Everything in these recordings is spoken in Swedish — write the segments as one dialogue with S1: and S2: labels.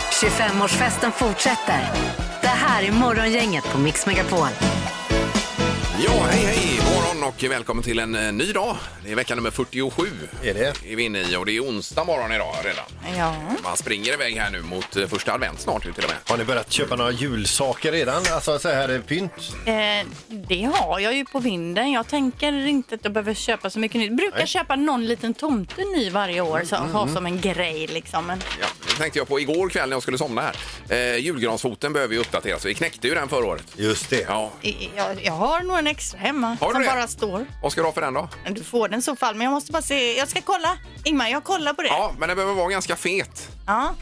S1: 25-årsfesten fortsätter. Det här är Morgongänget på Mix Megapol.
S2: Ja, hej, hej! Morgon och välkommen till en eh, ny dag. Det är vecka nummer 47.
S3: Är det?
S2: är vi inne i och det är onsdag morgon idag redan.
S4: Ja.
S2: Man springer iväg här nu mot eh, första advent snart ju till och med.
S3: Har ni börjat köpa några julsaker redan? Alltså så här eh, pynt?
S4: Eh, det har jag ju på vinden. Jag tänker inte att jag behöver köpa så mycket nytt. Brukar
S3: Nej.
S4: köpa någon liten tomte ny varje år så ha
S2: Mm-hmm.
S4: som en grej liksom. Men,
S2: Ja, det tänkte jag på igår kväll när jag skulle somna här. Eh, julgransfoten behöver ju uppdateras. Vi knäckte ju den förra året.
S3: Just det.
S2: Ja.
S4: i- jag, jag har nog en extra hemma
S2: Har du
S4: som
S2: det?
S4: bara står.
S2: Vad ska du ha för den då?
S4: Men Du får den i så fall, men jag måste bara se. Jag ska kolla. Ingmar, jag kollar på det. Ja.
S2: Ja, men den behöver vara ganska fet.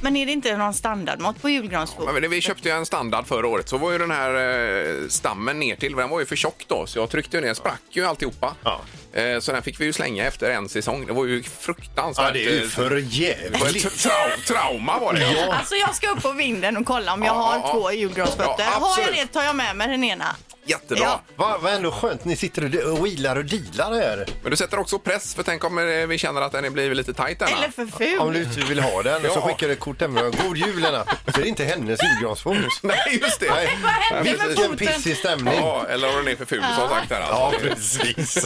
S4: men är det inte någon standardmått på julgransbord?
S2: Ja, men vi köpte ju en standard förra året. Så var ju den här eh, stammen ner till, den var ju för tjock då. Så jag tryckte ju ner, sprack ju alltihopa.
S3: Ja.
S2: Eh, så den fick vi ju slänga efter en säsong. Det var ju fruktansvärt.
S3: Ja, det är ju
S2: eh,
S3: för
S2: Det var ett
S3: jävligt.
S2: tra- trauma var det. Ja.
S4: Alltså jag ska upp på vinden och kolla om jag
S2: Ja,
S4: har
S2: ja, ja.
S4: två julgransfötter.
S2: Ja,
S4: har jag
S2: absolut.
S4: det tar jag med mig den ena.
S2: Jättebra.
S4: Ja.
S3: Vad va ändå skönt, ni sitter och de- och wheelar och dealar här.
S2: Men du sätter också press, för tänk om eh, vi känner att den är blivit lite tajt denna.
S4: Eller för ful.
S3: Om du inte vill ha den
S2: Ja.
S3: så skickar du ett kort hemifrån. God jul Lena! Det är inte hennes julgransfot.
S2: Nej, just det.
S3: Nej.
S4: Vad hände med
S3: Vilken
S4: foten?
S3: pissig stämning.
S2: Ja, eller om den är för ful som sagt här
S3: Ja,
S2: alltså.
S3: precis.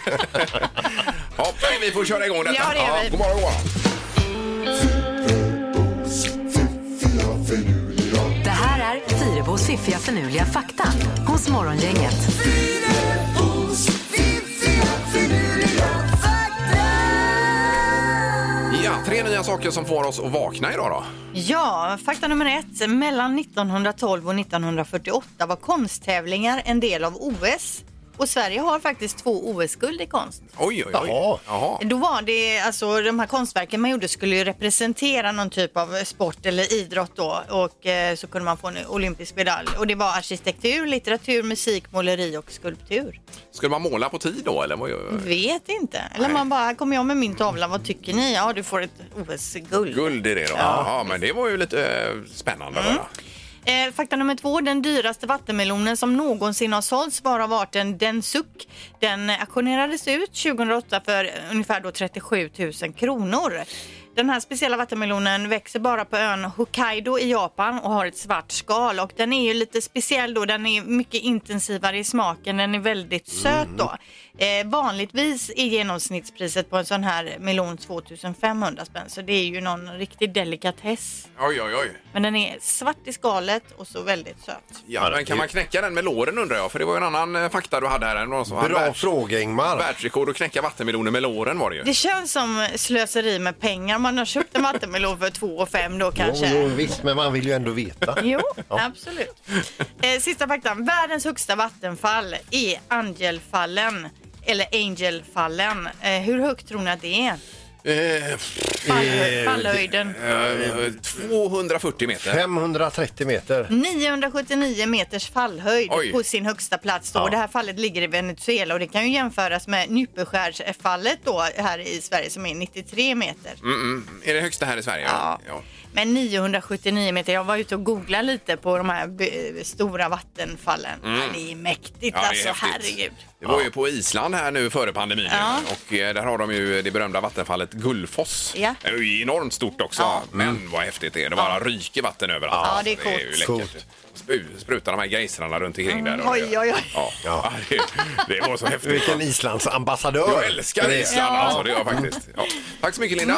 S2: Ja, nej, vi får köra igång detta.
S4: Ja, det gör vi.
S2: god morgon, god morgon.
S1: Det här är Fyrebos fiffiga förnuliga fakta hos Morgongänget.
S2: Ja, tre nya saker som får oss att vakna idag då.
S4: Ja, fakta nummer ett. Mellan 1912 och 1948 var konsttävlingar en del av OS. Och Sverige har faktiskt två OS-guld i konst.
S2: Oj, oj, oj.
S3: Jaha.
S2: Jaha.
S4: Då var det, alltså de här konstverken man gjorde skulle ju representera någon typ av sport eller idrott då och eh, så kunde man få en olympisk medalj. Och det var arkitektur, litteratur, musik, måleri och skulptur.
S2: Skulle man måla på tid då eller? vad gör-
S4: Vet inte. Eller
S2: Nej.
S4: man bara, här kommer jag med min tavla, vad tycker ni? Ja, du får ett OS-guld.
S2: Guld i det då? Ja, men det var ju lite eh, spännande. Mm.
S4: Eh, fakta nummer två. Den dyraste vattenmelonen som någonsin har sålts var av arten Densuk. Den eh, auktionerades ut 2008 för ungefär då 37 000 kronor. Den här speciella vattenmelonen växer bara på ön Hokkaido i Japan och har ett svart skal. Och den är ju lite speciell då. Den är mycket intensivare i smaken. Den är väldigt söt då. Eh, vanligtvis är genomsnittspriset på en sån här melon 2500 spänn. Så det är ju någon riktig delikatess.
S2: Oj, oj, oj.
S4: Men den är svart i skalet och så väldigt söt.
S2: Ja, men kan man knäcka den med låren undrar jag? För det var ju en annan eh, fakta du hade här. Någon som hade
S3: Bra
S2: världs-
S3: fråga Ingmar.
S2: Världsrekord att knäcka vattenmeloner med låren var det ju.
S4: Det känns som slöseri med pengar. Man har köpt en vattenmelon för 2 och fem då
S3: Jo,
S4: kanske.
S3: jo, visst, men man vill ju ändå veta.
S4: Jo, absolut. Eh, sista faktan. Världens högsta vattenfall är Angelfallen. Eller Angelfallen. Eh, hur högt tror ni att det är?
S2: Eh,
S4: Fallhö- fallhöjden.
S2: eh, 240 meter.
S3: 530 meter.
S4: 979 meters fallhöjd
S2: Oj.
S4: på sin högsta plats. Då.
S3: Ja.
S4: Det här fallet ligger i Venezuela och det kan ju jämföras med Nyppeskärsfallet då här i Sverige som är 93 meter.
S2: Är det högsta här i Sverige?
S4: Ja. Men 979 meter, jag var ute och googlade lite på de här b- stora vattenfallen. Ja, det är mäktigt
S2: Mm. Ja, det är
S4: alltså,
S2: häftigt.
S4: herregud.
S2: Det var ju på Island här nu före pandemin ju. och eh, där har de ju det berömda vattenfallet Gullfoss.
S4: Ja.
S2: Det är ju enormt stort också. Men vad häftigt det är. Det bara ryker vatten överallt.
S4: Ja, det är
S2: Det är ju
S4: coolt. Mm.
S2: läckert.
S3: Coolt.
S2: Spu- sprutar de här gejsrarna runt omkring där.
S4: Oj, oj, oj.
S2: Ja. Ja. Det, det var så häftigt.
S3: Vilken Islands ambassadör.
S2: Jag älskar Island
S4: Ja. Mm.
S2: alltså, det gör jag faktiskt. Ja. Tack så mycket Linda.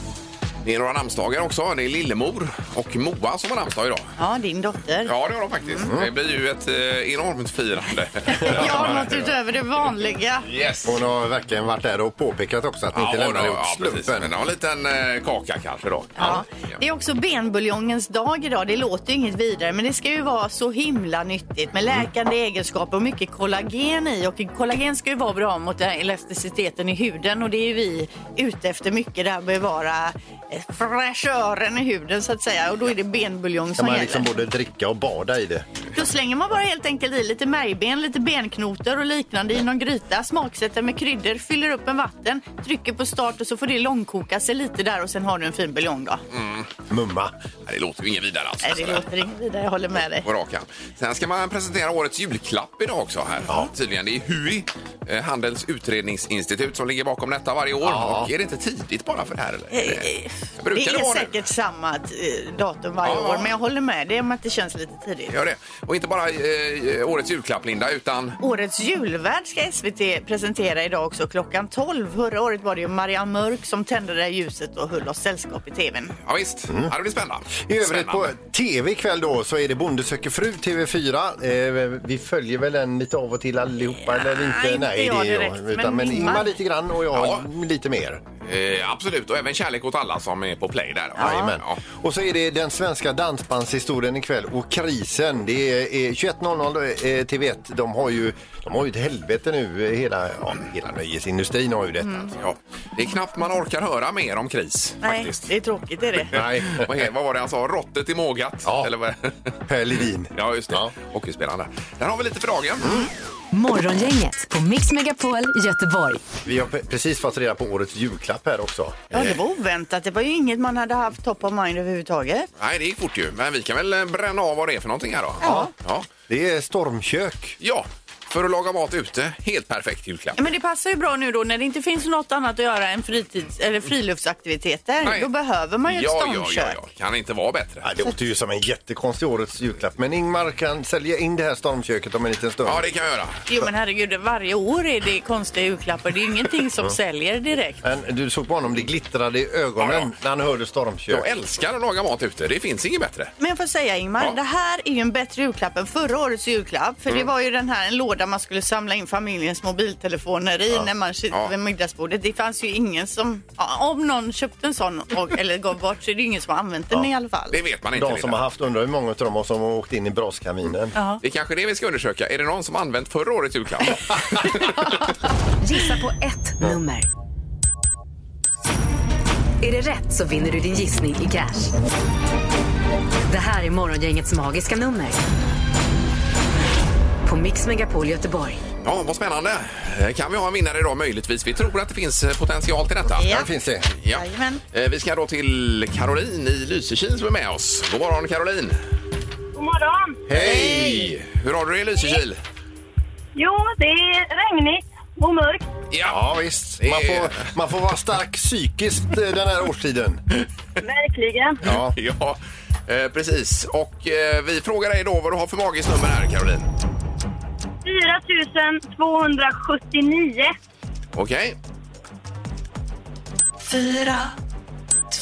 S2: Det är några namnsdagar också. Det är Lillemor och Moa som har namnsdag idag.
S4: Ja, din dotter. Ja.
S2: Ja, det har de faktiskt.
S4: Mm.
S2: Det blir ju ett eh, enormt firande.
S4: något utöver det vanliga.
S2: Yes.
S3: Hon har verkligen varit där och påpekat också att ni inte lämnar
S2: då,
S3: åt
S2: ja, precis. Men
S3: slumpen.
S2: en liten eh, kaka kanske då.
S4: Ja.
S2: Ja.
S4: Det är också benbuljongens dag idag. Det låter ju inget vidare, men det ska ju vara så himla nyttigt med
S3: Mm.
S4: läkande egenskaper och mycket kollagen i. Och kollagen ska ju vara bra mot den här elasticiteten i huden och det är ju vi ute efter mycket. Det här bevara eh, fräschören i huden så att säga. Och då är det benbuljong
S3: Kan
S4: som
S3: man
S4: gäller.
S3: liksom både dricka och bada i det?
S4: Då Då slänger man bara helt enkelt i lite märgben, lite benknotor och liknande i någon gryta, smaksätter med kryddor, fyller upp med vatten, trycker på start och så får det långkoka sig lite där och sen har du en fin buljong då.
S3: Mumma.
S2: Nej, det låter ju inget vidare alltså.
S4: Nej, det låter inget vidare, jag håller med dig.
S2: på rak arm. Sen ska man presentera årets julklapp idag också här. Tydligen. Det är HUI, eh, Handels utredningsinstitut, som ligger bakom detta varje år.
S3: Ja.
S2: Och är det inte tidigt bara för det här? Eller?
S4: Eh,
S2: Brukar
S4: Det
S2: det
S4: är
S2: vara nu?
S4: säkert samma eh, datum varje
S2: Ja.
S4: år, men jag håller med dig om att det känns lite tidigt.
S2: Gör det. Och inte bara eh, årets julklapp, Linda, utan...
S4: Årets julvärd ska SVT presentera idag också klockan 12. Förra året var det ju Marianne Mörk som tände det där ljuset och höll oss sällskap i tvn.
S2: Ja, visst. Ja, det blir spännande.
S3: I övrigt på
S2: Spännande.
S3: tv ikväll då så är det Bonde söker fru, TV4. Eh, vi följer väl den lite av och till allihopa eller inte?
S4: inte jag
S3: det är
S4: direkt, men
S3: utan, men
S4: Ingmar.
S3: Ingmar lite grann och jag
S2: Ja.
S3: lite mer.
S2: Eh, absolut, och även Kärlek åt alla som är på play där.
S3: Jajamän. Och så är det den svenska dansbandshistorien ikväll och krisen. Det är eh, 21.00 eh, TV1. De har ju, de har ju ett helvete nu. eh, Hela, ja, hela nöjesindustrin har ju detta.
S4: Mm.
S2: Ja. Det är knappt man orkar höra mer om kris, faktiskt.
S4: Nej, det är tråkigt är det.
S3: Nej.
S2: vad, är, vad var det han sa? Rottet i mågat?
S3: Ja.
S2: Eller vad?
S3: Per Levin.
S2: ja, just det.
S3: Ja.
S2: Hockeyspelaren där. Där har vi lite för dagen.
S1: Morgongänget på Mix Megapol Göteborg.
S3: Vi har pe- precis fått reda på årets julklapp här också.
S4: Ja, det var oväntat. Det var ju inget man hade haft top of mind överhuvudtaget.
S2: Nej, det gick fort ju. Men vi kan väl eh, bränna av vad det är för någonting här då?
S4: Ja.
S2: Ja,
S3: Det är stormkök.
S2: ja. för att laga mat ute. Helt perfekt julklapp.
S4: Ja, Men det passar ju bra nu då när det inte finns något annat att göra än fritids eller friluftsaktiviteter.
S2: Mm. Nej.
S4: Då behöver man ju ett
S2: Ja, ja,
S4: ståndkök.
S2: ja, ja. Kan inte vara bättre.
S3: Ja, det låter ju som en jättekonstig årets julklapp. Men Ingmar kan sälja in det här stormköket om en liten stund.
S2: Ja, det kan jag göra.
S4: Jo men herregud, varje år är det konstiga julklappar. Det är ju ingenting som säljer direkt.
S3: Men du såg på honom, det glittrade i ögonen
S2: Ja, ja.
S3: när han hörde stormkök.
S2: Jag älskar att laga mat ute. Det finns inget bättre.
S4: Men jag får säga Ingmar,
S2: Ja. Mm.
S4: det här är ju en bättre julklapp än förra årets julklapp. För det var ju den här en låda man skulle samla in familjens mobiltelefoner i när man sitter
S2: Ja.
S4: vid middagsbordet. Det fanns ju ingen som, ja, om någon köpte en sån och, eller gav bort så är det ju ingen som har använt den i alla fall.
S2: Det vet man inte.
S3: De som
S2: Linda.
S3: har haft, undrar hur många av dem har som har åkt in i braskaminen.
S2: Det är kanske det vi ska undersöka. Är det någon som har använt förra årets julklapp?
S1: Gissa på ett nummer. Är det rätt så vinner du din gissning i cash. Det här är Morgongängets magiska nummer. På Mix Megapol Göteborg.
S2: ja, vad spännande. Eh, Kan vi ha en vinnare idag möjligtvis? Vi tror att det finns eh, potential till detta.
S4: Ja.
S3: Där finns det.
S2: Ja.
S4: Jajamän.
S2: Eh, Vi ska då till Caroline i Lysekil som är med oss. God morgon Caroline!
S5: God morgon!
S2: Hej! Hur har du det i Lysekil?
S5: Jo, det är regnigt och mörkt.
S3: Ja, visst. Man
S2: Det-
S3: får, man får vara stark psykiskt eh, den här årstiden.
S5: Verkligen.
S3: Ja.
S2: Ja, eh, precis. Och eh, vi frågar dig då vad du har för magiskt nummer här, Caroline.
S5: 4 279.
S2: Okej?
S6: fyra,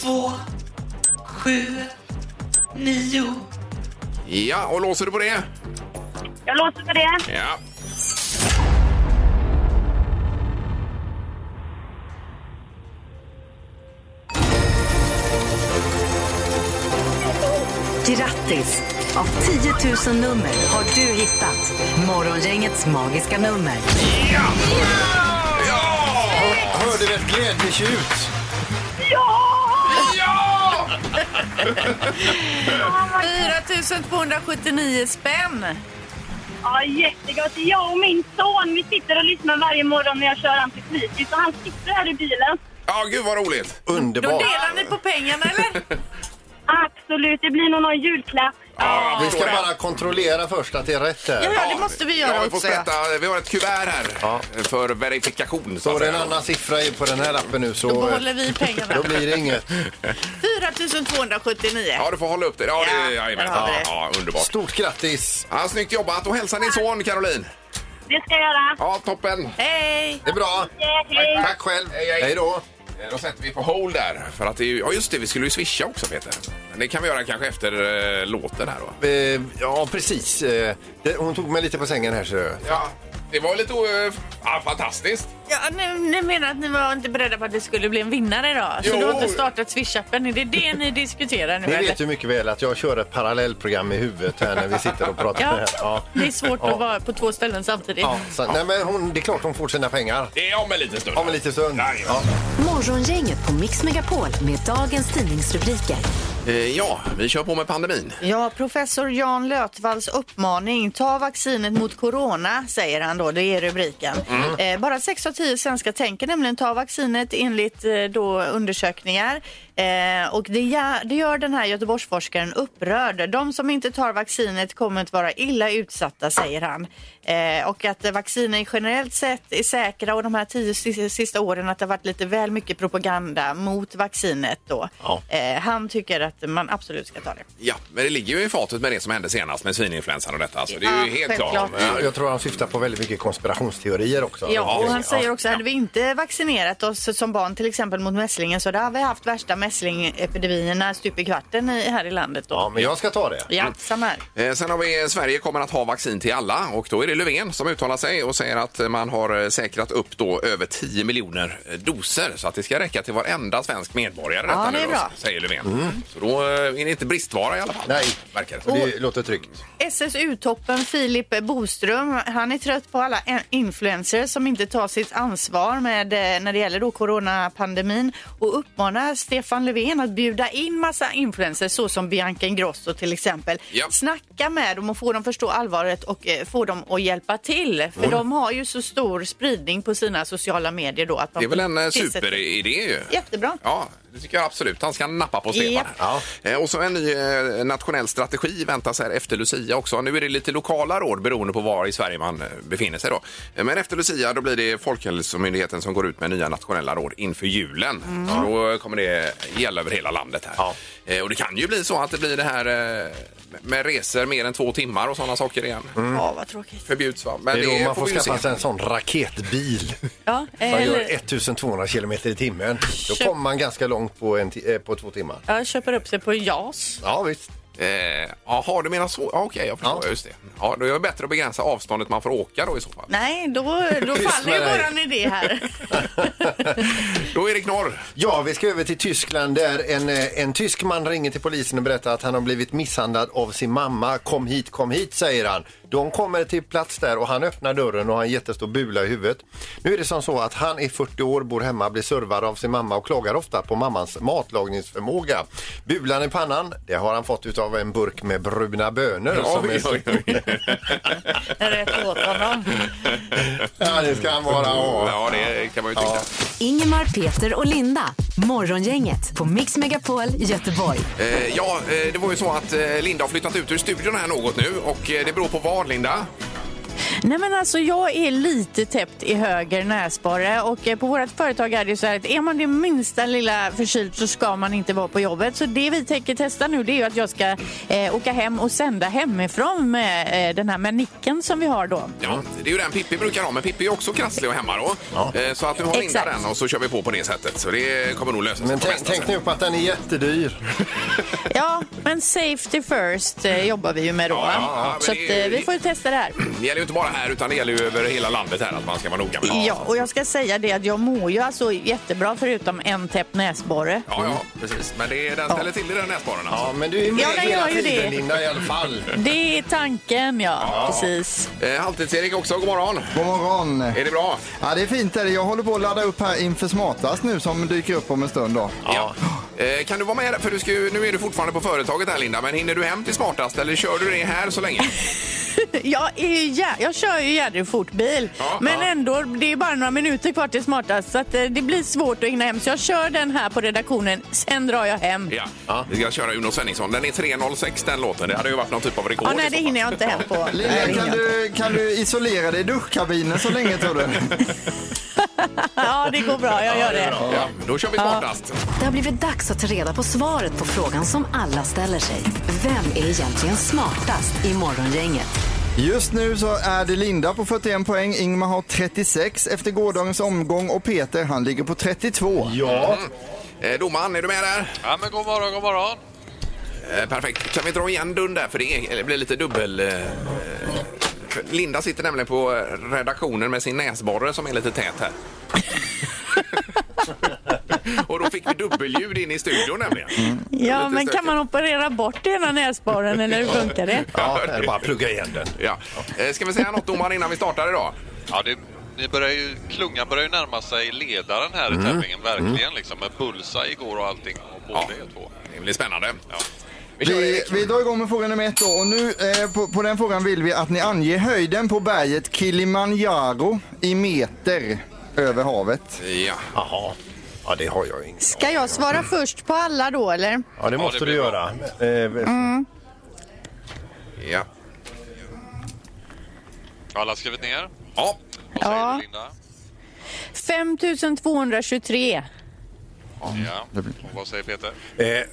S6: två, sju, nio.
S2: Ja, och låser du på det?
S5: Jag låter för det.
S2: Ja.
S1: Grattis! Av 10 000 nummer har du hittat Morgongängets magiska nummer.
S2: Ja! Ja!
S3: Hörde vi ett glädjetjut?
S2: Ja!
S4: 4279 spänn!
S5: Ja, jättegott. Jag och min son vi sitter och lyssnar varje morgon när jag kör antikritisk. Och han sitter här i bilen.
S2: Ja, gud vad roligt!
S4: Då
S3: Underbart.
S4: delar ni på pengarna eller?
S5: Absolut, det blir nog någon julklapp.
S2: Ja,
S3: Vi ska
S2: förstår det.
S3: bara kontrollera först att det är rätt här.
S4: Ja, det måste vi göra
S2: ja, vi, får
S4: också.
S2: sprätta, vi har ett kuvert här
S3: Ja.
S2: för verifikation. Så att
S3: Står det
S2: säga.
S3: en annan siffra i- på den här lappen nu så
S4: Då
S3: eh,
S4: behåller vi pengarna.
S3: då blir det inget.
S4: 4279.
S2: Ja, du får hålla upp det. Ja, det,
S4: Ja,
S2: ja, jajamän.
S4: där har vi
S2: ja,
S4: det.
S2: ja, underbart.
S3: Stort grattis!
S2: Ja, snyggt jobbat och hälsa din son Caroline.
S5: Det ska jag göra.
S2: Ja, toppen.
S4: Hej!
S3: Det är bra.
S5: Ja, hej.
S3: Tack själv.
S2: Hej, hej.
S3: Hej då.
S2: Eh, Då sätter vi på hold där. För att det är, ju- ja, just det, vi skulle ju swisha också, Peter. Men det kan vi göra kanske efter eh, låten här då.
S3: Eh, Ja, precis. Eh, det- Hon tog mig lite på sängen här, ser du.
S2: Ja, det var lite eh, ja, fantastiskt.
S4: Ja, ni, ni menar att ni var inte beredda på att det skulle bli en vinnare idag? Så
S2: Jo.
S4: du har inte startat Swish-appen? Är det det ni diskuterar nu
S3: Ni
S4: eller?
S3: vet ju mycket väl att jag kör ett parallellprogram i huvudet här när vi sitter och pratar
S4: Ja.
S3: med henne. Ja.
S4: Det är svårt
S3: Ja.
S4: att vara på två ställen samtidigt.
S3: Ja, så, nej, men hon, det är klart hon får sina pengar.
S2: Det är om en liten stund.
S3: Om en liten stund.
S2: Nej.
S3: Ja.
S1: Morgongänget på Mix Megapol med dagens tidningsrubriker.
S2: Eh, Ja, vi kör på med pandemin.
S4: Ja, professor Jan Lötvalls uppmaning, ta vaccinet mot corona, säger han då, det är rubriken. Eh, bara 6 av 10 svenskar tänker nämligen ta vaccinet enligt eh, då undersökningar. Eh, och det, ja, det gör den här Göteborgsforskaren upprörd. De som inte tar vaccinet kommer att vara illa utsatta, säger han. Eh, och att eh, vacciner generellt sett är säkra och de här tio si- sista åren att det har varit lite väl mycket propaganda mot vaccinet då.
S3: Ja.
S4: Eh, han tycker att man absolut ska ta det.
S2: Ja, men det ligger ju i fatet med det som hände senast med svininfluensan och detta. Så det är ju
S4: Ja,
S2: helt klart.
S4: självklart.
S3: Ja, Jag tror han syftar på väldigt mycket konspirationsteorier också.
S4: Ja, och han säger
S3: Ja.
S4: också att hade vi inte vaccinerat oss som barn till exempel mot mässlingen så då hade vi haft värsta mässlingepidemierna stup i kvarten i, här i landet då.
S3: Ja, men jag ska ta det.
S4: Ja, samma här.
S2: Eh, Sen har vi eh, Sverige kommer att ha vaccin till alla och då är det Löfven som uttalar sig och säger att eh, man har eh, säkrat upp då över 10 miljoner eh, doser så att det ska räcka till varenda svensk medborgare.
S4: Ja,
S2: detta
S4: det är
S2: nu
S4: bra. Mm.
S2: Då, säger Löfven. Så då eh, är det inte bristvara i alla fall.
S3: Nej.
S2: Verkar det. som.
S3: Det låter tryggt.
S4: SSU-toppen Filip Boström, han är trött på alla en- influencers som inte tar sitt ansvar med, eh, när det gäller då coronapandemin och uppmanar Stefan Löfven att bjuda in massa influencers såsom Bianca Ingrosso till exempel.
S2: Ja.
S4: Snacka med dem och få dem förstå allvaret och eh, få dem att hjälpa till. För de har ju så stor spridning på sina sociala medier då. Att de
S2: Det är väl en eh,
S4: finns ett-
S2: superidé ju.
S4: Jättebra.
S2: Ja, det tycker jag absolut. Han ska nappa på Stefan.
S4: Japp.
S2: här. Eh, Och så en ny eh, nationell strategi väntas här efter Lucia också. Nu är det lite lokala råd beroende på var i Sverige man eh, befinner sig då. Eh, Men efter Lucia då blir det Folkhälsomyndigheten som går ut med nya nationella råd inför julen. Så då kommer det gälla över hela landet här.
S3: Mm. Ja.
S2: Eh, Och det kan ju bli så att det blir det här eh, med resor mer än två timmar och sådana saker igen.
S4: Ja, vad tråkigt.
S2: Förbjuds va? Men
S3: Mm. Det är då man
S2: får
S3: får
S2: vi ju
S3: skaffa
S2: se.
S3: sig en sån raketbil.
S4: Ja, eh,
S3: Man gör
S4: eller,
S3: 1200 kilometer i timmen. Då
S4: Köp-
S3: kommer man ganska långt på, en ti- eh, på två timmar.
S4: jag köper upp sig på JAS.
S3: Ja, visst.
S2: Eh, Jaha, du menar så? Ja, Okej, jag förstår.
S3: Ja.
S2: Just det. Ja, då är det bättre att begränsa avståndet man får åka då i så fall.
S4: Nej, då, då
S3: Tyst
S4: faller
S3: med
S4: ju
S3: dig.
S4: våran idé här.
S2: Då är det knorr.
S3: Ja, vi ska över till Tyskland där en, eh, en tysk man ringer till polisen och berättar att han har blivit misshandlad av sin mamma. Kom hit, kom hit, säger han. De kommer till plats där och han öppnar dörren och har en jättestor bula i huvudet. Nu är det som så att han är 40 år, bor hemma, blir servad av sin mamma och klagar ofta på mammans matlagningsförmåga. Bulan i pannan, det har han fått av en burk med bruna bönor. som är...
S2: Oj, oj, oj.
S4: Rätt åt honom.
S3: Ja, det ska han vara. Ja.
S2: Ja, det kan man ju tycka.
S1: Ingemar, Peter och Linda. Morgongänget på Mix Megapol Göteborg.
S2: Eh, ja, eh, det var ju så att eh, Linda har flyttat ut ur studion här något nu och eh, det beror på vad, Linda?
S4: Nej men alltså jag är lite täppt i höger näsborre och eh, på vårt företag är det ju så här att är man det minsta lilla förkyld så ska man inte vara på jobbet. Så det vi tänker testa nu det är ju att jag ska eh, åka hem och sända hemifrån med eh, den här manicken som vi har då.
S2: Ja, det är ju den Pippi brukar ha, men Pippi är också krasslig och hemma då. Eh, så att nu har Linda
S4: Exakt.
S2: den och så kör vi på på det sättet. Så det kommer nog lösa sig.
S3: Men
S2: på
S3: tänk,
S2: bästa
S3: tänk
S2: sätt.
S3: nu på att den är jättedyr.
S4: Ja men safety first eh, jobbar vi ju med då.
S2: Ja,
S4: va?
S2: ja, ja, men
S4: så att,
S2: det är ju-
S4: eh, vi får ju testa det här.
S2: Det gäller ju inte bara här utan det gäller ju över hela landet här att man ska vara noga med
S4: Ja, och jag ska säga det att jag mår ju alltså jättebra förutom en täppt näsborre.
S2: Ja, ja, precis. Men det, den ställer till i den näsborren alltså.
S3: Ja, men du är med
S4: Ja, den
S3: hela
S4: gör ju
S3: tiden,
S4: det.
S3: Linda, i alla fall.
S4: Det är tanken ja. precis.
S2: Eh, Halvtids-Erik också, god morgon.
S7: God morgon!
S2: Är det bra?
S7: Ja, det är fint. Här. Jag håller på att ladda upp här inför smartast nu som dyker upp om en stund. Då.
S2: Ja. Eh, Kan du vara med? För du ska ju, nu är du fortfarande på företaget här Linda, men hinner du hem till smartast eller kör du det här så länge?
S4: Jag, är ju, jä- jag kör ju jädrigt fort bil.
S2: Ja,
S4: men
S2: ja.
S4: ändå, det är bara några minuter kvar till smartast. Så att, eh, det blir svårt att hinna hem. Så jag kör den här på redaktionen. Sen drar jag hem. Ja,
S2: Ja. Vi ska köra Uno Svenningsson. Den är 3.06 den låten. Det hade ju varit någon typ av rekord. i
S4: nej,
S2: så
S4: det
S2: fall.
S4: hinner jag inte hem på. Nej, det
S7: Lina, Eh, kan
S4: hinner jag inte.
S7: du, kan du isolera dig i duschkabinen så länge tror du?
S4: Ja, det går bra. Jag gör det.
S2: Ja, då kör vi smartast.
S1: Det har blivit dags att ta reda på svaret på frågan som alla ställer sig. Vem är egentligen smartast i Morgongänget?
S7: Just nu så är det Linda på 41 poäng, Ingmar har 36 efter gårdagens omgång och Peter han ligger på 32.
S3: Ja,
S2: Eh, domaren, är du med där?
S8: Ja, men god morgon, god morgon.
S2: Eh, perfekt. Kan vi dra igen dun där? För det är, eller blir lite dubbel... Eh, för Linda sitter nämligen på eh, redaktionen med sin näsborre som är lite tät här. Och då fick vi dubbelljud in i studion nämligen.
S8: Mm.
S4: Ja,
S2: Lite
S4: men kan
S2: stökigt.
S4: man operera bort ena näsborren eller hur funkar det?
S3: ja det är bara att plugga igen den.
S2: Ja. Eh, Ska vi säga något domaren innan vi startar idag?
S8: Ja, det, ni börjar ju, klungan börjar ju närma sig ledaren här
S2: Mm.
S8: i tävlingen, verkligen liksom. Med bullseye igår och allting. Och båda
S2: Ja.
S8: er två.
S2: Det blir spännande. Vi kör
S7: Vi,
S2: Erik.
S7: vi drar igång med fråga nummer ett då. Och nu, eh, på, på den frågan vill vi att ni anger höjden på berget Kilimanjaro i meter över havet.
S2: Ja.
S3: Jaha. Ja, det har jag ju ingen
S9: Ska jag svara först på alla då eller?
S3: Ja, det måste du
S8: det blir
S3: göra. Eh,
S2: ja.
S8: Har alla skrivit ner?
S2: Ja.
S8: Vad säger
S9: Ja.
S8: du Linda?
S9: 5223.
S8: Ja. Och vad säger Peter?
S3: eh,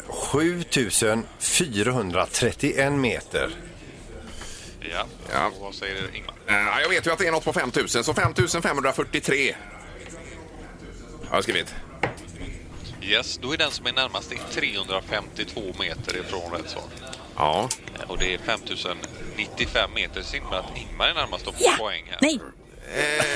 S3: 7431 meter.
S8: Ja.
S2: Ja.
S8: Och vad säger Ingmar?
S2: Eh, Jag vet ju att det är något på 5 000, så 5 543 har jag skrivit.
S8: Yes, då är den som är närmast är 352 meter ifrån rätt svar.
S2: Ja.
S8: Eh, Och det är 5095 meter. Synd att Ingmar är närmast och får poäng här.
S9: Nej!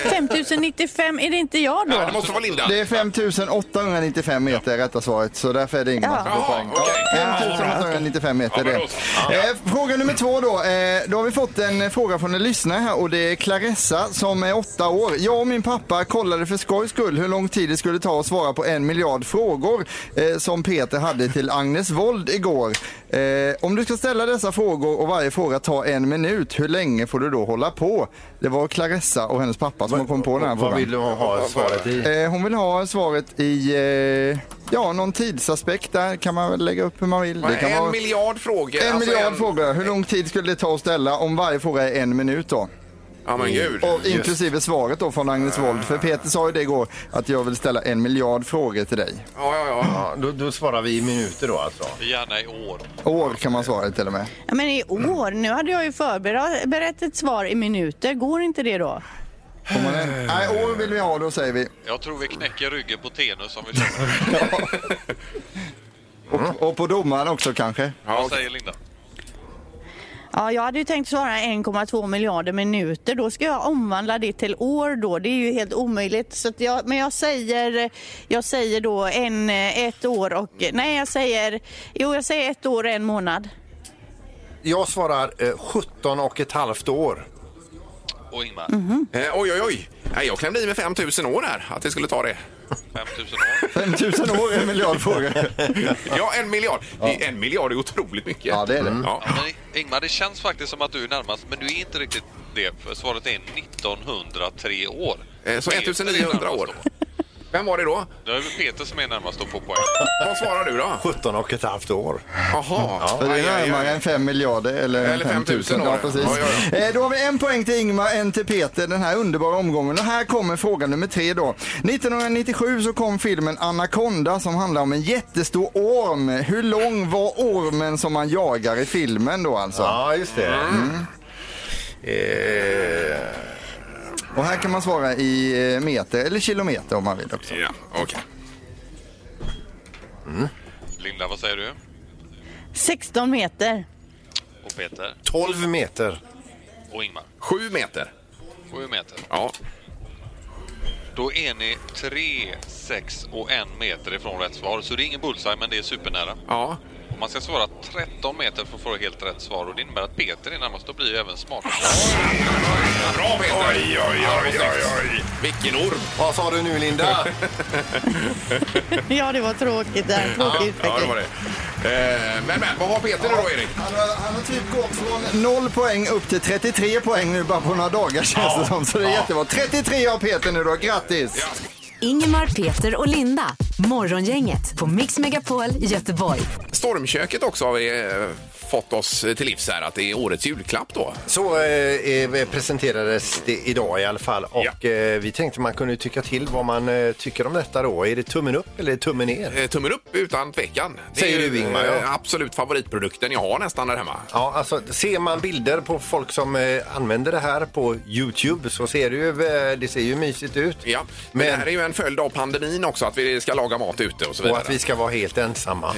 S9: 5095, är det inte jag
S2: Ja,
S9: då?
S2: det måste vara Linda.
S7: Det är 5895 meter rätta svaret, så därför är det Ingmar som får
S2: Jaha,
S7: poäng.
S2: okej.
S7: Ja, 5895 meter
S2: Ja,
S7: det.
S2: men då så. Ja.
S7: Eh, Fråga nummer två då. Eh, Då har vi fått en eh, fråga från en lyssnare här och det är Claressa som är åtta år. Jag och min pappa kollade för skojs skull hur lång tid det skulle ta att svara på en miljard frågor eh, som Peter hade till Agnes Wold igår. Eh, Om du ska ställa dessa frågor och varje fråga tar en minut, hur länge får du då hålla på? Det var Claressa och hennes pappa som kom på den här
S3: Vad
S7: frågan.
S3: vill du ha svaret i?
S7: Eh, Hon vill ha svaret i eh, ja, någon tidsaspekt där. Kan man väl lägga upp hur man vill. Det kan
S2: en
S7: vara
S2: miljard frågor.
S7: en
S2: alltså
S7: miljard frågor. Hur lång tid skulle det ta att ställa om varje fråga är en minut då?
S2: Ja, men gud.
S7: Och inklusive svaret då från Agnes Wold. För Peter sa ju det igår att jag vill ställa en miljard frågor till dig.
S2: Ja, ja, ja.
S3: Ja, då, då svarar vi i minuter då alltså.
S8: Gärna i år.
S7: År kan man svara till och med.
S9: Ja, men i år, nu hade jag ju förberett ett svar i minuter, går inte det då?
S7: Får man en? Nej, år vill vi ha då säger vi.
S8: Jag tror vi knäcker ryggen på Tenus om vi kör.
S7: Och, och på domaren också kanske.
S2: ja
S8: Vad
S2: okej.
S8: säger Linda?
S9: Ja, jag hade ju tänkt svara 1,2 miljarder minuter. Då ska jag omvandla det till år då. Det är ju helt omöjligt. Så att jag, men jag säger, jag säger då en, ett år och... Nej, jag säger... Jo, jag säger ett år och en månad.
S3: Jag svarar eh, 17 och ett halvt år.
S8: Och Ingmar?
S9: Mhm.
S2: Eh, Oj, oj, oj. Nej, jag klämde i med 5 000 år här, att det skulle ta det.
S8: 5000 år?
S7: 5000 år är en miljard frågor.
S2: Ja, en miljard. Det är En miljard är otroligt mycket.
S7: Ja, det är det.
S2: Ja.
S8: Ja, men Ingmar, det känns faktiskt som att du är närmast, men du är inte riktigt det. För svaret är 1903 år.
S2: Eh, Så
S8: Peter är
S2: 1900
S8: närmast
S2: år.
S8: då.
S2: Vem var det då?
S8: Då är det Peter som är närmast att få poäng.
S2: Vad svarar du då?
S3: 17 och ett halvt år.
S2: Jaha.
S7: För det
S2: Aj,
S7: är
S2: aj, aj.
S7: närmare än 5 miljarder eller,
S2: Eller
S7: 5 000.
S2: 5 000
S7: Ja,
S2: då.
S7: precis.
S2: Ja, ja,
S7: Eh, Då har vi en poäng till Ingmar, en till Peter den här underbara omgången. Och här kommer fråga nummer tre då. 1997 så kom filmen Anaconda som handlar om en jättestor orm. Hur lång var ormen som man jagar i filmen då alltså?
S3: Ja, just det.
S7: Mm.
S3: Eh,
S7: Och här kan man svara i eh, meter eller kilometer om man vill också.
S2: Ja, okej.
S8: Linda, vad säger du?
S9: 16 meter.
S8: Och Peter?
S3: 12 meter.
S8: Och Ingmar?
S2: Sju meter.
S8: 7 meter.
S2: Ja.
S8: Då är ni 3, 6 och 1 meter ifrån rätt svar. Så det är ingen bullseye, men det är supernära.
S2: Ja.
S8: Och man ska svara 13 meter för att få helt rätt svar. Och det innebär att Peter är närmast. Då blir ju även smartare.
S2: Bra Peter! Oj, oj, oj, oj, oj. Vilken orm!
S3: Vad sa du nu, Linda?
S9: Ja, det var tråkigt. Där. Tråkig
S2: Ja, det
S9: utveckling.
S2: var det. Eh, Men, men, vad har Peter nu då, Erik?
S7: Han har, han har typ gått från 0 poäng upp till 33 poäng nu bara på några dagar känns det som. Så det är jättebra. 33 av Peter nu då, grattis!
S1: Ingemar, Peter och Linda. Morgongänget på Mix Megapol Göteborg.
S2: Stormköket också har vi eh, fått oss till livs här, att det är årets julklapp då.
S3: Så eh, eh, presenterades det idag i alla fall. Och eh, vi tänkte man kunde tycka till vad man eh, tycker om detta då. Är det tummen upp eller tummen ner?
S2: Eh, Tummen upp utan tvekan. Det
S3: Säger
S2: är ju,
S3: du, Ingmar, ja.
S2: eh, Absolut favoritprodukten jag har nästan där hemma.
S3: Ja, alltså ser man bilder på folk som eh, använder det här på Youtube så ser det ju, eh, det ser ju mysigt ut.
S2: Ja, men,
S3: Men-
S2: det här är ju en följd av pandemin också, att vi ska laga mat ute och så
S3: Och
S2: vidare.
S3: att vi ska vara helt ensamma.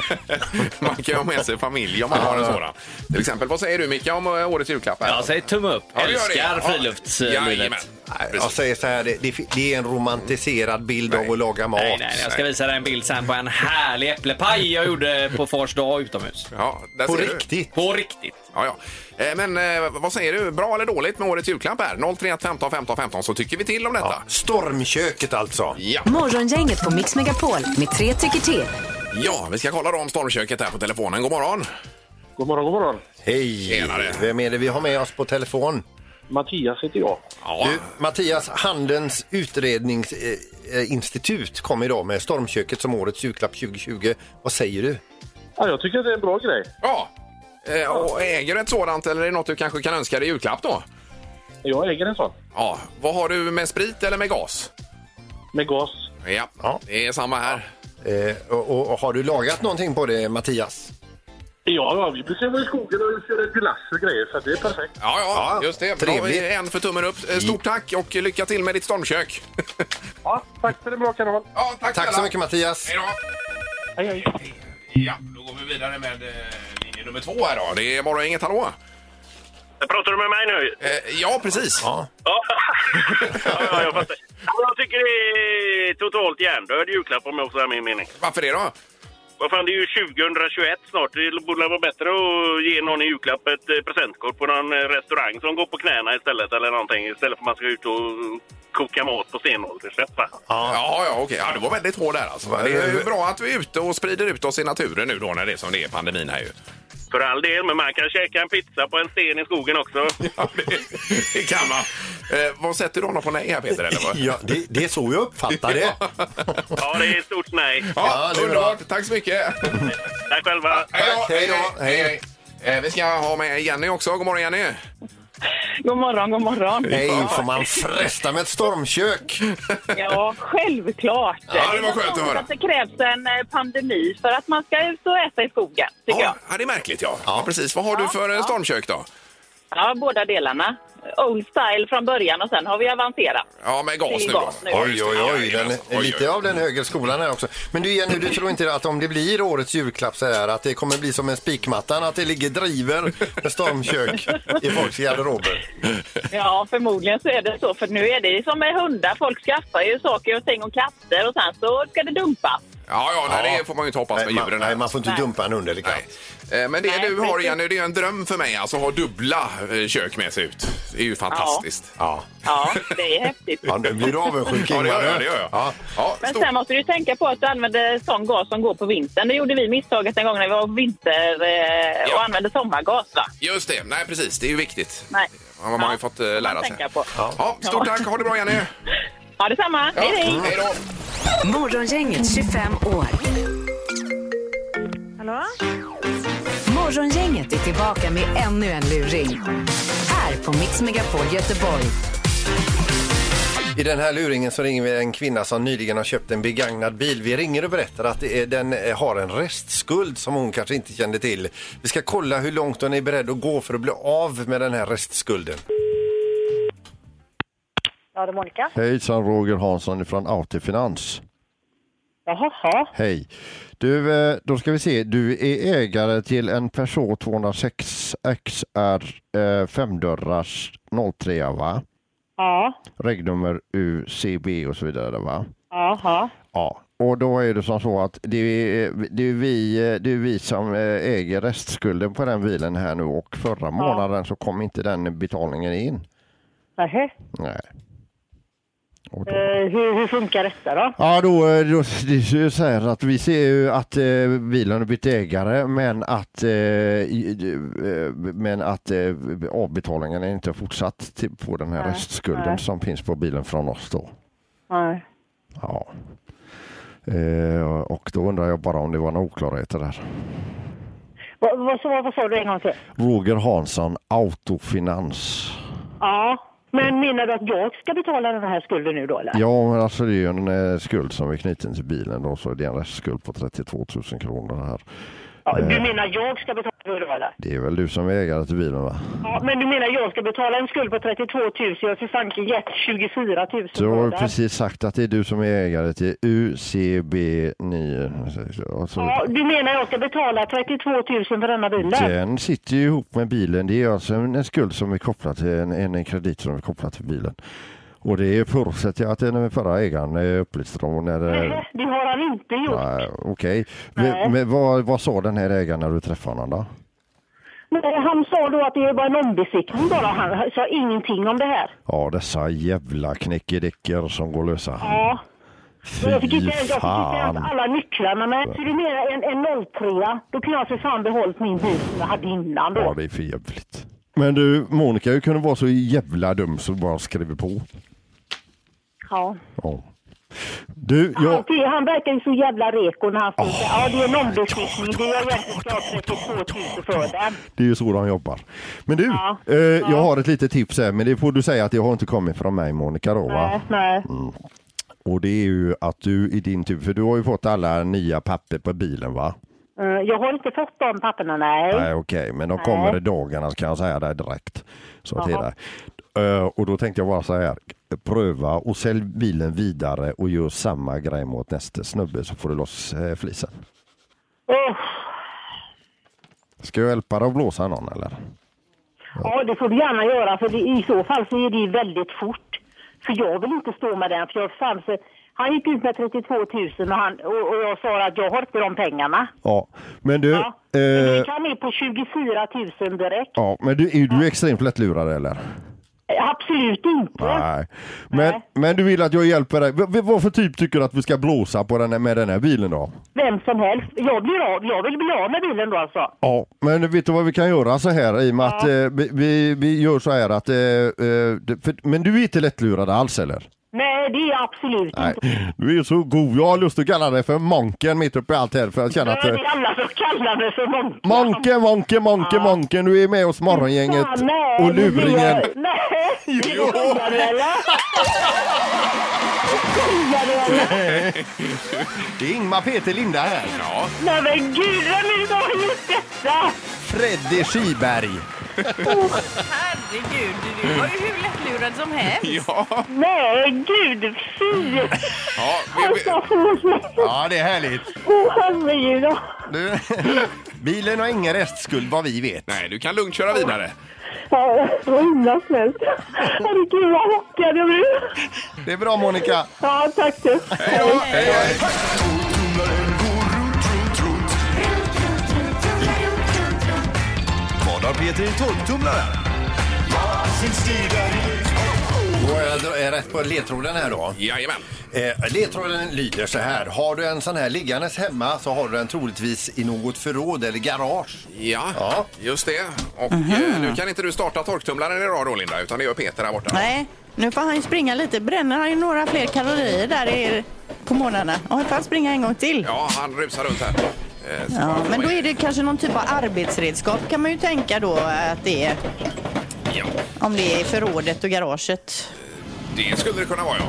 S2: Man kan ju ha med sig familjen familj om man har en sådan. Till exempel, vad säger du Micke om eh, årets julklapp? Här?
S10: Ja, säg tumme upp.
S2: Ja, det gör det.
S10: Älskar
S2: Ja.
S10: friluftslivet.
S2: Jajamän. Nej,
S3: Jag
S2: precis.
S3: säger så här, det, det- det är en romantiserad bild av att laga mat.
S10: Nej, nej, jag ska visa dig en bild sen på en härlig äpplepaj jag gjorde på fars dag utomhus.
S2: Ja, där
S3: På
S2: ser du.
S3: riktigt.
S10: På riktigt.
S2: Ja, ja. Eh, Men eh, vad säger du, bra eller dåligt med årets julklapp här? 031 15 15 15 så tycker vi till om detta.
S3: Stormköket alltså.
S2: Ja.
S1: Morgongänget på Mix Megapol med tre tycker till.
S2: ja, vi ska kolla då om stormköket här på telefonen. God morgon!
S4: God morgon, god morgon.
S3: Hej!
S2: Tjenare.
S3: Vem är det vi har med oss på telefon?
S4: Mattias heter jag.
S2: Ja,
S3: Du, Mattias, Handelns utredningsinstitut kom idag med Stormköket som årets julklapp 2020. Vad säger du?
S4: Ja, jag tycker att det är en bra grej.
S2: ja. Eh, Och äger du ett sådant eller är det något du kanske kan önska dig i julklapp då?
S4: Jag äger en sån.
S2: Ja, vad har du med sprit eller med gas?
S4: Med gas.
S2: Ja,
S3: Ja.
S2: det är samma här.
S3: Eh, och, och, och har du lagat någonting på det, Mattias?
S4: Ja, ja, vi brukar vara i skogen och köra glass och grejer, så det är perfekt.
S2: Ja, ja,
S3: Ja,
S2: just det. Bra,
S3: trevligt.
S2: vi är en för tummen upp. Eh, Stort tack och lycka till med ditt stormkök.
S4: Ja, tack för en bra kanal.
S2: ja,
S3: Tack så mycket, Mattias.
S2: Hej då.
S4: Hej, hej.
S2: Ja, då går vi vidare med eh, linje nummer två här då. Det är bara inget hallå.
S4: Pratar du med mig nu?
S2: Eh, ja, precis.
S3: Ja.
S4: Ja, ja, ja jag fattar. Ja, Jag tycker det är totalt hjärndöd julklapp om jag får säga min mening.
S2: Varför det då?
S4: Vad fan, det är ju 2021 snart. Det borde vara bättre att ge någon i julklapp ett eh, presentkort på någon eh, restaurang som går på knäna istället eller någonting istället för att man ska ut och koka mat på stenåldersrätt va?
S2: Ja, ja, okej. Ja, det var väldigt hård där alltså. Men Det är ju bra att vi är ute och sprider ut oss i naturen nu då när det är som det är pandemin här ju.
S4: För all del, men man kan käka en pizza på en sten i skogen också.
S2: Ja, det, det kan man. Eh, vad sätter du honom på nej här Peter eller vad?
S3: Ja, det, det är så jag uppfattar det.
S4: Ja, det är ett stort nej.
S2: Ja,
S3: Ja, det är bra.
S2: underbart. Tack så mycket.
S4: Tack själva.
S3: Tack, hej då.
S2: Hej, hej. Eh, Vi ska ha med Jenny också. God morgon Jenny.
S4: God morgon, god morgon.
S3: Nej, får man fresta med ett stormkök?
S4: Ja, självklart.
S2: Ja, det var skönt att höra.
S4: Det krävs en eh, pandemi för att man ska ut och äta i skogen, tycker jag.
S2: Ja, ja, det är märkligt ja. ja precis. Vad har du för eh, stormkök då?
S4: Ja, båda delarna. Old style från början och sen har vi avancerat.
S2: Ja, med gas
S4: Det
S2: nu
S4: är
S2: då.
S4: gas nu.
S2: Ja, just
S3: Oj,
S2: det.
S3: oj,
S2: Ja,
S3: oj. Den,
S2: jajamän. Oj, oj.
S3: lite av den högre skolan här också. Men du Jenny, du tror inte att om det blir årets julklapp så här att det kommer bli som en spikmattan, att det ligger driver med stormkök i folks garderober?
S4: Ja, förmodligen så är det så. För nu är det som med hundar. Folk skaffar ju saker och ting och katter och sen så ska det dumpas.
S2: Ja, ja, nej, det får man ju inte hoppas med
S3: Nej, man,
S2: djuren.
S3: nej,
S2: här.
S3: man får inte
S4: Nej.
S3: dumpa en under eller katt.
S2: Nej. Eh, Men det
S4: Nej,
S2: du har
S4: precis.
S2: Jenny, det är ju en dröm för mig. Alltså ha dubbla eh, kök med sig ut. Det är ju fantastiskt.
S3: Ja.
S4: Ja, det är häftigt.
S3: ja, nu blir du avundsjuk
S2: Ja, det gör
S3: Ingmar.
S2: jag. Det gör jag.
S3: Ja.
S2: Ja,
S4: Men
S2: stort-
S4: sen måste du tänka på att du använder sån gas som går på vintern. Det gjorde vi misstaget en gång när vi var på vinter eh,
S2: Ja.
S4: och använde sommargas. Va?
S2: Just det, nej precis. Det är ju viktigt.
S4: Nej.
S2: Man, man har ju
S4: Ja,
S2: fått eh,
S4: man
S2: lära sig.
S4: tänka på.
S2: Ja. stort tack, ha det bra Jenny.
S4: Ha detsamma!
S2: Ja,
S4: Hej, hej!
S2: Hej då.
S1: Morgongänget 25 år.
S11: Hallå?
S1: Morgongänget är tillbaka med ännu en luring. Här på Mix Megapol Göteborg.
S3: I den här luringen så ringer vi en kvinna som nyligen har köpt en begagnad bil. Vi ringer och berättar att det är, den eh, har en restskuld som hon kanske inte kände till. Vi ska kolla hur långt hon är beredd att gå för att bli av med den här restskulden.
S4: Ja, det är Monica.
S3: Hejsan, Roger Hansson från AT Finans.
S4: Jaha.
S3: Hej. Du, eh, då ska vi se. Du är ägare till en Peugeot 206 XR eh, femdörrars 03 va?
S4: Ja.
S3: Regnummer UCB och så vidare va?
S4: Jaha.
S3: Ja. Och då är det som så att det är, eh, det är, vi, det är vi som eh, äger restskulden på den bilen här nu och förra månaden så kom inte den betalningen in.
S4: Nähä.
S3: Nej. Och då...
S4: Eh, hur, hur funkar detta då?
S3: Ja, då, eh, då det är ju så här att vi ser ju att eh, bilen har bytt ägare men att, eh, i- d- eh, men att eh, avbetalningen är inte fortsatt till, på den här restskulden som finns på bilen från oss då.
S4: Nej.
S3: Ja. Eh, och då undrar jag bara om det var några oklarheter där.
S4: Vad, vad, sa- vad sa du en gång till?
S3: Roger Hansson, Autofinans.
S4: Ja. Men menar du att jag ska betala den här skulden nu då eller?
S3: Ja, men alltså det är ju en eh, skuld som är knuten till bilen då, så det är en restskuld på 32 000 kronor här.
S4: Ja, du menar jag ska betala för det då, eller?
S3: Det är väl du som är ägare till bilen va?
S4: Ja, men du menar jag ska betala en skuld på 32 000 jag har för fanken gett 24 000
S3: Du
S4: för
S3: har
S4: den.
S3: precis sagt att det är du som är ägare till UCB9. Alltså,
S4: Ja, du menar jag ska betala 32 000 för denna bilen?
S3: den sitter ju ihop med bilen. Det är alltså en, en skuld som är kopplad till en, en, en kredit som är kopplad till bilen. Och det förutsätter jag att den förra ägaren eh, upplyste om. När, eh,
S4: Nej, det har han inte gjort.
S3: nej, Okej.
S4: Nej.
S3: Men, men vad, vad sa den här ägaren när du träffade honom då?
S4: Nej, han sa då att det är bara en ombesiktning bara. Han sa ingenting om det här.
S3: Ja, dessa jävla knäckedeckor som går lösa.
S4: Ja. Och jag fick inte ens, jag fick inte
S3: fan.
S4: ens alla nycklarna med. Så du menar en, en 03 då kunde jag för fan behållit min bil som jag hade innan då.
S3: Ja, det är för jävligt. Men du, Monica hur kunde vara så jävla dum som bara skriver på.
S4: Ja.
S3: Ja. Du, jag...
S4: Han, han verkar ju så jävla reko när han står där. Ja, det är en ombesiktning. Det är egentligen klart 32 000 för den.
S3: Det är ju så de jobbar. Men du,
S4: Ja.
S3: eh, jag har ett litet tips här, men det får du säga att det har inte kommit från mig Monica då va?
S4: Nej, nej.
S3: Mm. Och det är ju att du i din tur, för du har ju fått alla nya papper på bilen va?
S4: Eh, Jag har inte fått de papperna, nej.
S3: Nej, okej, men de
S4: Nej.
S3: kommer i dagarna kan jag säga det direkt. Så till
S4: Jaha.
S3: dig. Eh, och då tänkte jag bara så här, pröva och sälj bilen vidare och gör samma grej mot nästa snubbe så får du loss eh, flisen.
S4: Åh,
S3: Ska jag hjälpa dig att blåsa någon eller?
S4: ja, det får du gärna göra, för det, i så fall så är det ju väldigt fort. För jag vill inte stå med den, för jag fanns... Han gick ut med 32 000 och, han, och, och jag sa att jag har inte de pengarna.
S3: Ja, men du.
S4: Ja, Men
S3: eh,
S4: gick han ner på 24 000 direkt.
S3: Ja, men du, är du extremt lättlurad eller?
S4: Eh, Absolut inte.
S3: Nej. Men, men du vill att jag hjälper dig. V- v- vad för typ tycker du att vi ska blåsa på den här, med den här bilen då?
S4: Vem som helst. Jag, blir av, jag vill bli av med bilen då alltså.
S3: Ja, men vet du vad vi kan göra så här i och med att eh, vi, vi, vi gör så här att... Eh, eh, det- för, men du är inte lättlurad alls eller?
S4: Nej, det är jag absolut
S3: Nej,
S4: inte.
S3: du är ju så god. Jag har lust att kalla dig för Monken mitt uppe i allt här för jag känner att...
S4: Det
S3: Eh,
S4: är alla som kallar mig för monk.
S3: monken, Monken, Monken, Monken. Du är med oss Morgongänget
S4: Fan, nej,
S3: och luringen.
S4: det- Nej, jo. skojar du eller? Skojar du eller?
S12: Det är Ingmar Peter Linda här.
S2: Ja.
S4: Nej men gud, vem är det som har gjort detta?
S12: Freddy Skiberg.
S13: Åh, herregud, du var ju hur lättlurad som helst.
S2: Ja.
S4: Nej, gud, fy!
S2: Ja,
S4: Alltså, förlåt.
S12: Ja, det är härligt.
S4: Åh, herregud.
S12: Du, bilen har ingen restskuld vad vi vet.
S2: Nej, du kan lugnt köra vidare.
S4: Ja, det var himla snällt. Herregud, vad chockad jag blev.
S12: Det är bra Monica.
S4: Ja, tack du.
S14: Vad har Peter i torktumlaren?
S12: Går jag dra- eh, rätt på ledtråden här då?
S2: Jajamän.
S12: Eh, ledtråden lyder så här. Har du en sån här liggandes hemma så har du den troligtvis i något förråd eller garage.
S2: Ja,
S12: Ja.
S2: just det. Och eh, nu kan inte du starta torktumlaren idag då, Linda, utan det gör Peter där borta.
S15: Nej, nu får han ju springa lite. Bränner han ju några fler kalorier där i, på morgnarna? Ja, han får han springa en gång till.
S2: Ja, han rusar runt här. Eh, så-
S15: Ja, men då är det kanske någon typ av arbetsredskap kan man ju tänka då att det är.
S2: Ja,
S15: Om det är i förrådet och garaget.
S2: det skulle det kunna vara, ja.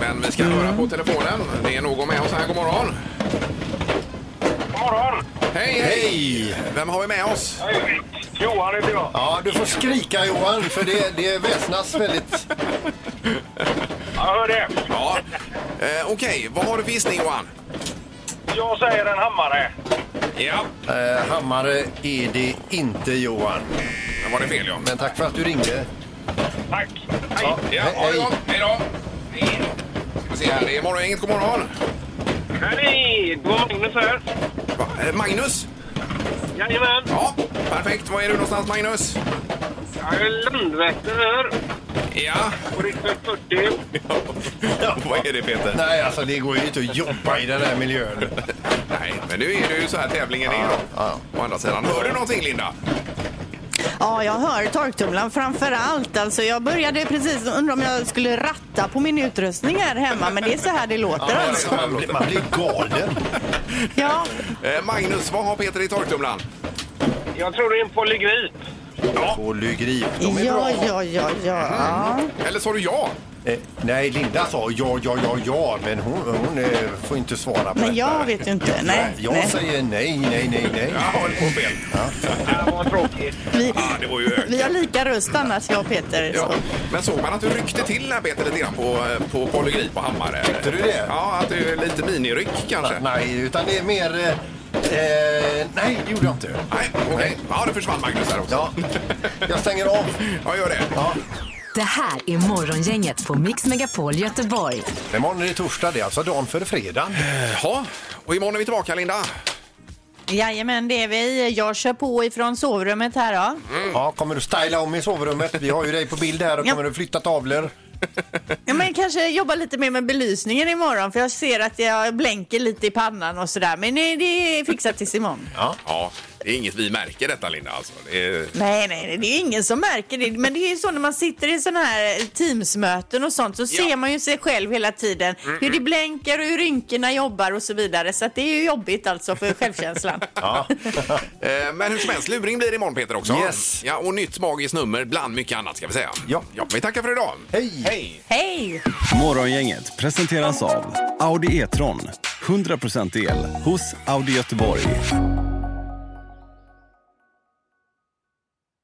S2: Men vi ska höra på telefonen. Det är någon med oss här. God morgon. Hej, hej!
S12: Hej!
S2: Vem har vi med oss?
S10: Johan heter jag.
S12: Ja, du får skrika Johan för det, det väsnas väldigt.
S10: Jag hör det.
S2: Ja. Eh, Okej, vad har du för gissning, Johan?
S10: Jag säger en hammare.
S2: Ja.
S12: Eh, hammare är det inte Johan.
S2: Det var det fel, ja.
S12: Men tack för att du ringde.
S10: Tack.
S2: Ja, ja ha det
S12: hej.
S2: gott. Hej då. Ska vi se här. Det är Morgongänget. God morgon.
S10: Hej! Det var Magnus här.
S2: Va? Eh, Magnus?
S10: Jajamän.
S2: Ja, perfekt. Var är du någonstans, Magnus?
S10: Jag är Landvetter här.
S2: Ja.
S10: På riksväg 40.
S2: Vad är det, Peter?
S12: Nej, alltså det går ju inte att jobba i den här miljön.
S2: Nej, men nu är det ju så här tävlingen är.
S12: Ja.
S2: Å andra sidan, hör du någonting, Linda?
S15: Ja, jag hör torktumlaren framför allt. Alltså, jag började precis undra om jag skulle ratta på min utrustning här hemma, men det är så här det låter alltså.
S12: Alltså, man, blir- man blir galen.
S15: Ja,
S2: Eh, Magnus, vad har Peter i torktumlaren?
S10: Jag tror det är en polygrip.
S12: På Lygrip.
S15: ja, ja, ja, ja.
S2: Eller sa du ja?
S3: Eh, nej, Linda sa ja, ja, ja, ja, men hon, hon eh, får inte svara på
S4: Men
S3: detta.
S4: jag vet ju inte. Nej,
S3: Jag
S4: nej.
S3: säger nej, nej, nej, nej. Ja, det var fel.
S2: Ja, vad tråkigt. Ja, det var ju
S4: Vi har lika röst annars, jag och Peter.
S2: Ja, men såg man att du ryckte till där Peter lite grann på, på polygri på hammare? Tyckte
S3: du det?
S2: Ja, att du är lite miniryck kanske?
S3: Nej, utan det är mer... Eh, nej, det gjorde jag inte.
S2: Nej, okej. Ja, det försvann Magnus här också.
S3: Ja, jag stänger av.
S2: Ja, gör det.
S3: Ja.
S16: Det här är Morgongänget på Mix Megapol Göteborg.
S3: Imorgon är det torsdag, det är alltså dagen före fredag.
S2: Jaha, och imorgon är vi tillbaka Linda.
S4: Jajamän, det är vi. Jag kör på ifrån sovrummet här då.
S3: Ja, kommer du styla om i sovrummet? Vi har ju dig på bild här och
S4: Ja.
S3: kommer du flytta tavlor?
S4: Ja, men kanske jobba lite mer med belysningen imorgon för jag ser att jag blänker lite i pannan och sådär. Men nej, det är fixat tills imorgon.
S2: Ja. det är inget vi märker detta Linda alltså. Det är...
S4: Nej, nej, nej, det är ingen som märker det. Men det är ju så när man sitter i sådana här teamsmöten och sånt så ser man ju sig själv hela tiden.
S2: Mm,
S4: Hur det
S2: mm.
S4: blänker och hur rynkorna jobbar och så vidare. Så att det är ju jobbigt alltså för självkänslan.
S2: Ja. Eh, Men hur som helst, luring blir det imorgon Peter också.
S3: Yes.
S2: Ja, och nytt magiskt nummer bland mycket annat ska vi säga.
S3: Ja.
S2: ja vi tackar för idag.
S3: Hej!
S2: Hej!
S4: Hej!
S17: Morgongänget presenteras av Audi E-tron. 100% el hos Audi Göteborg.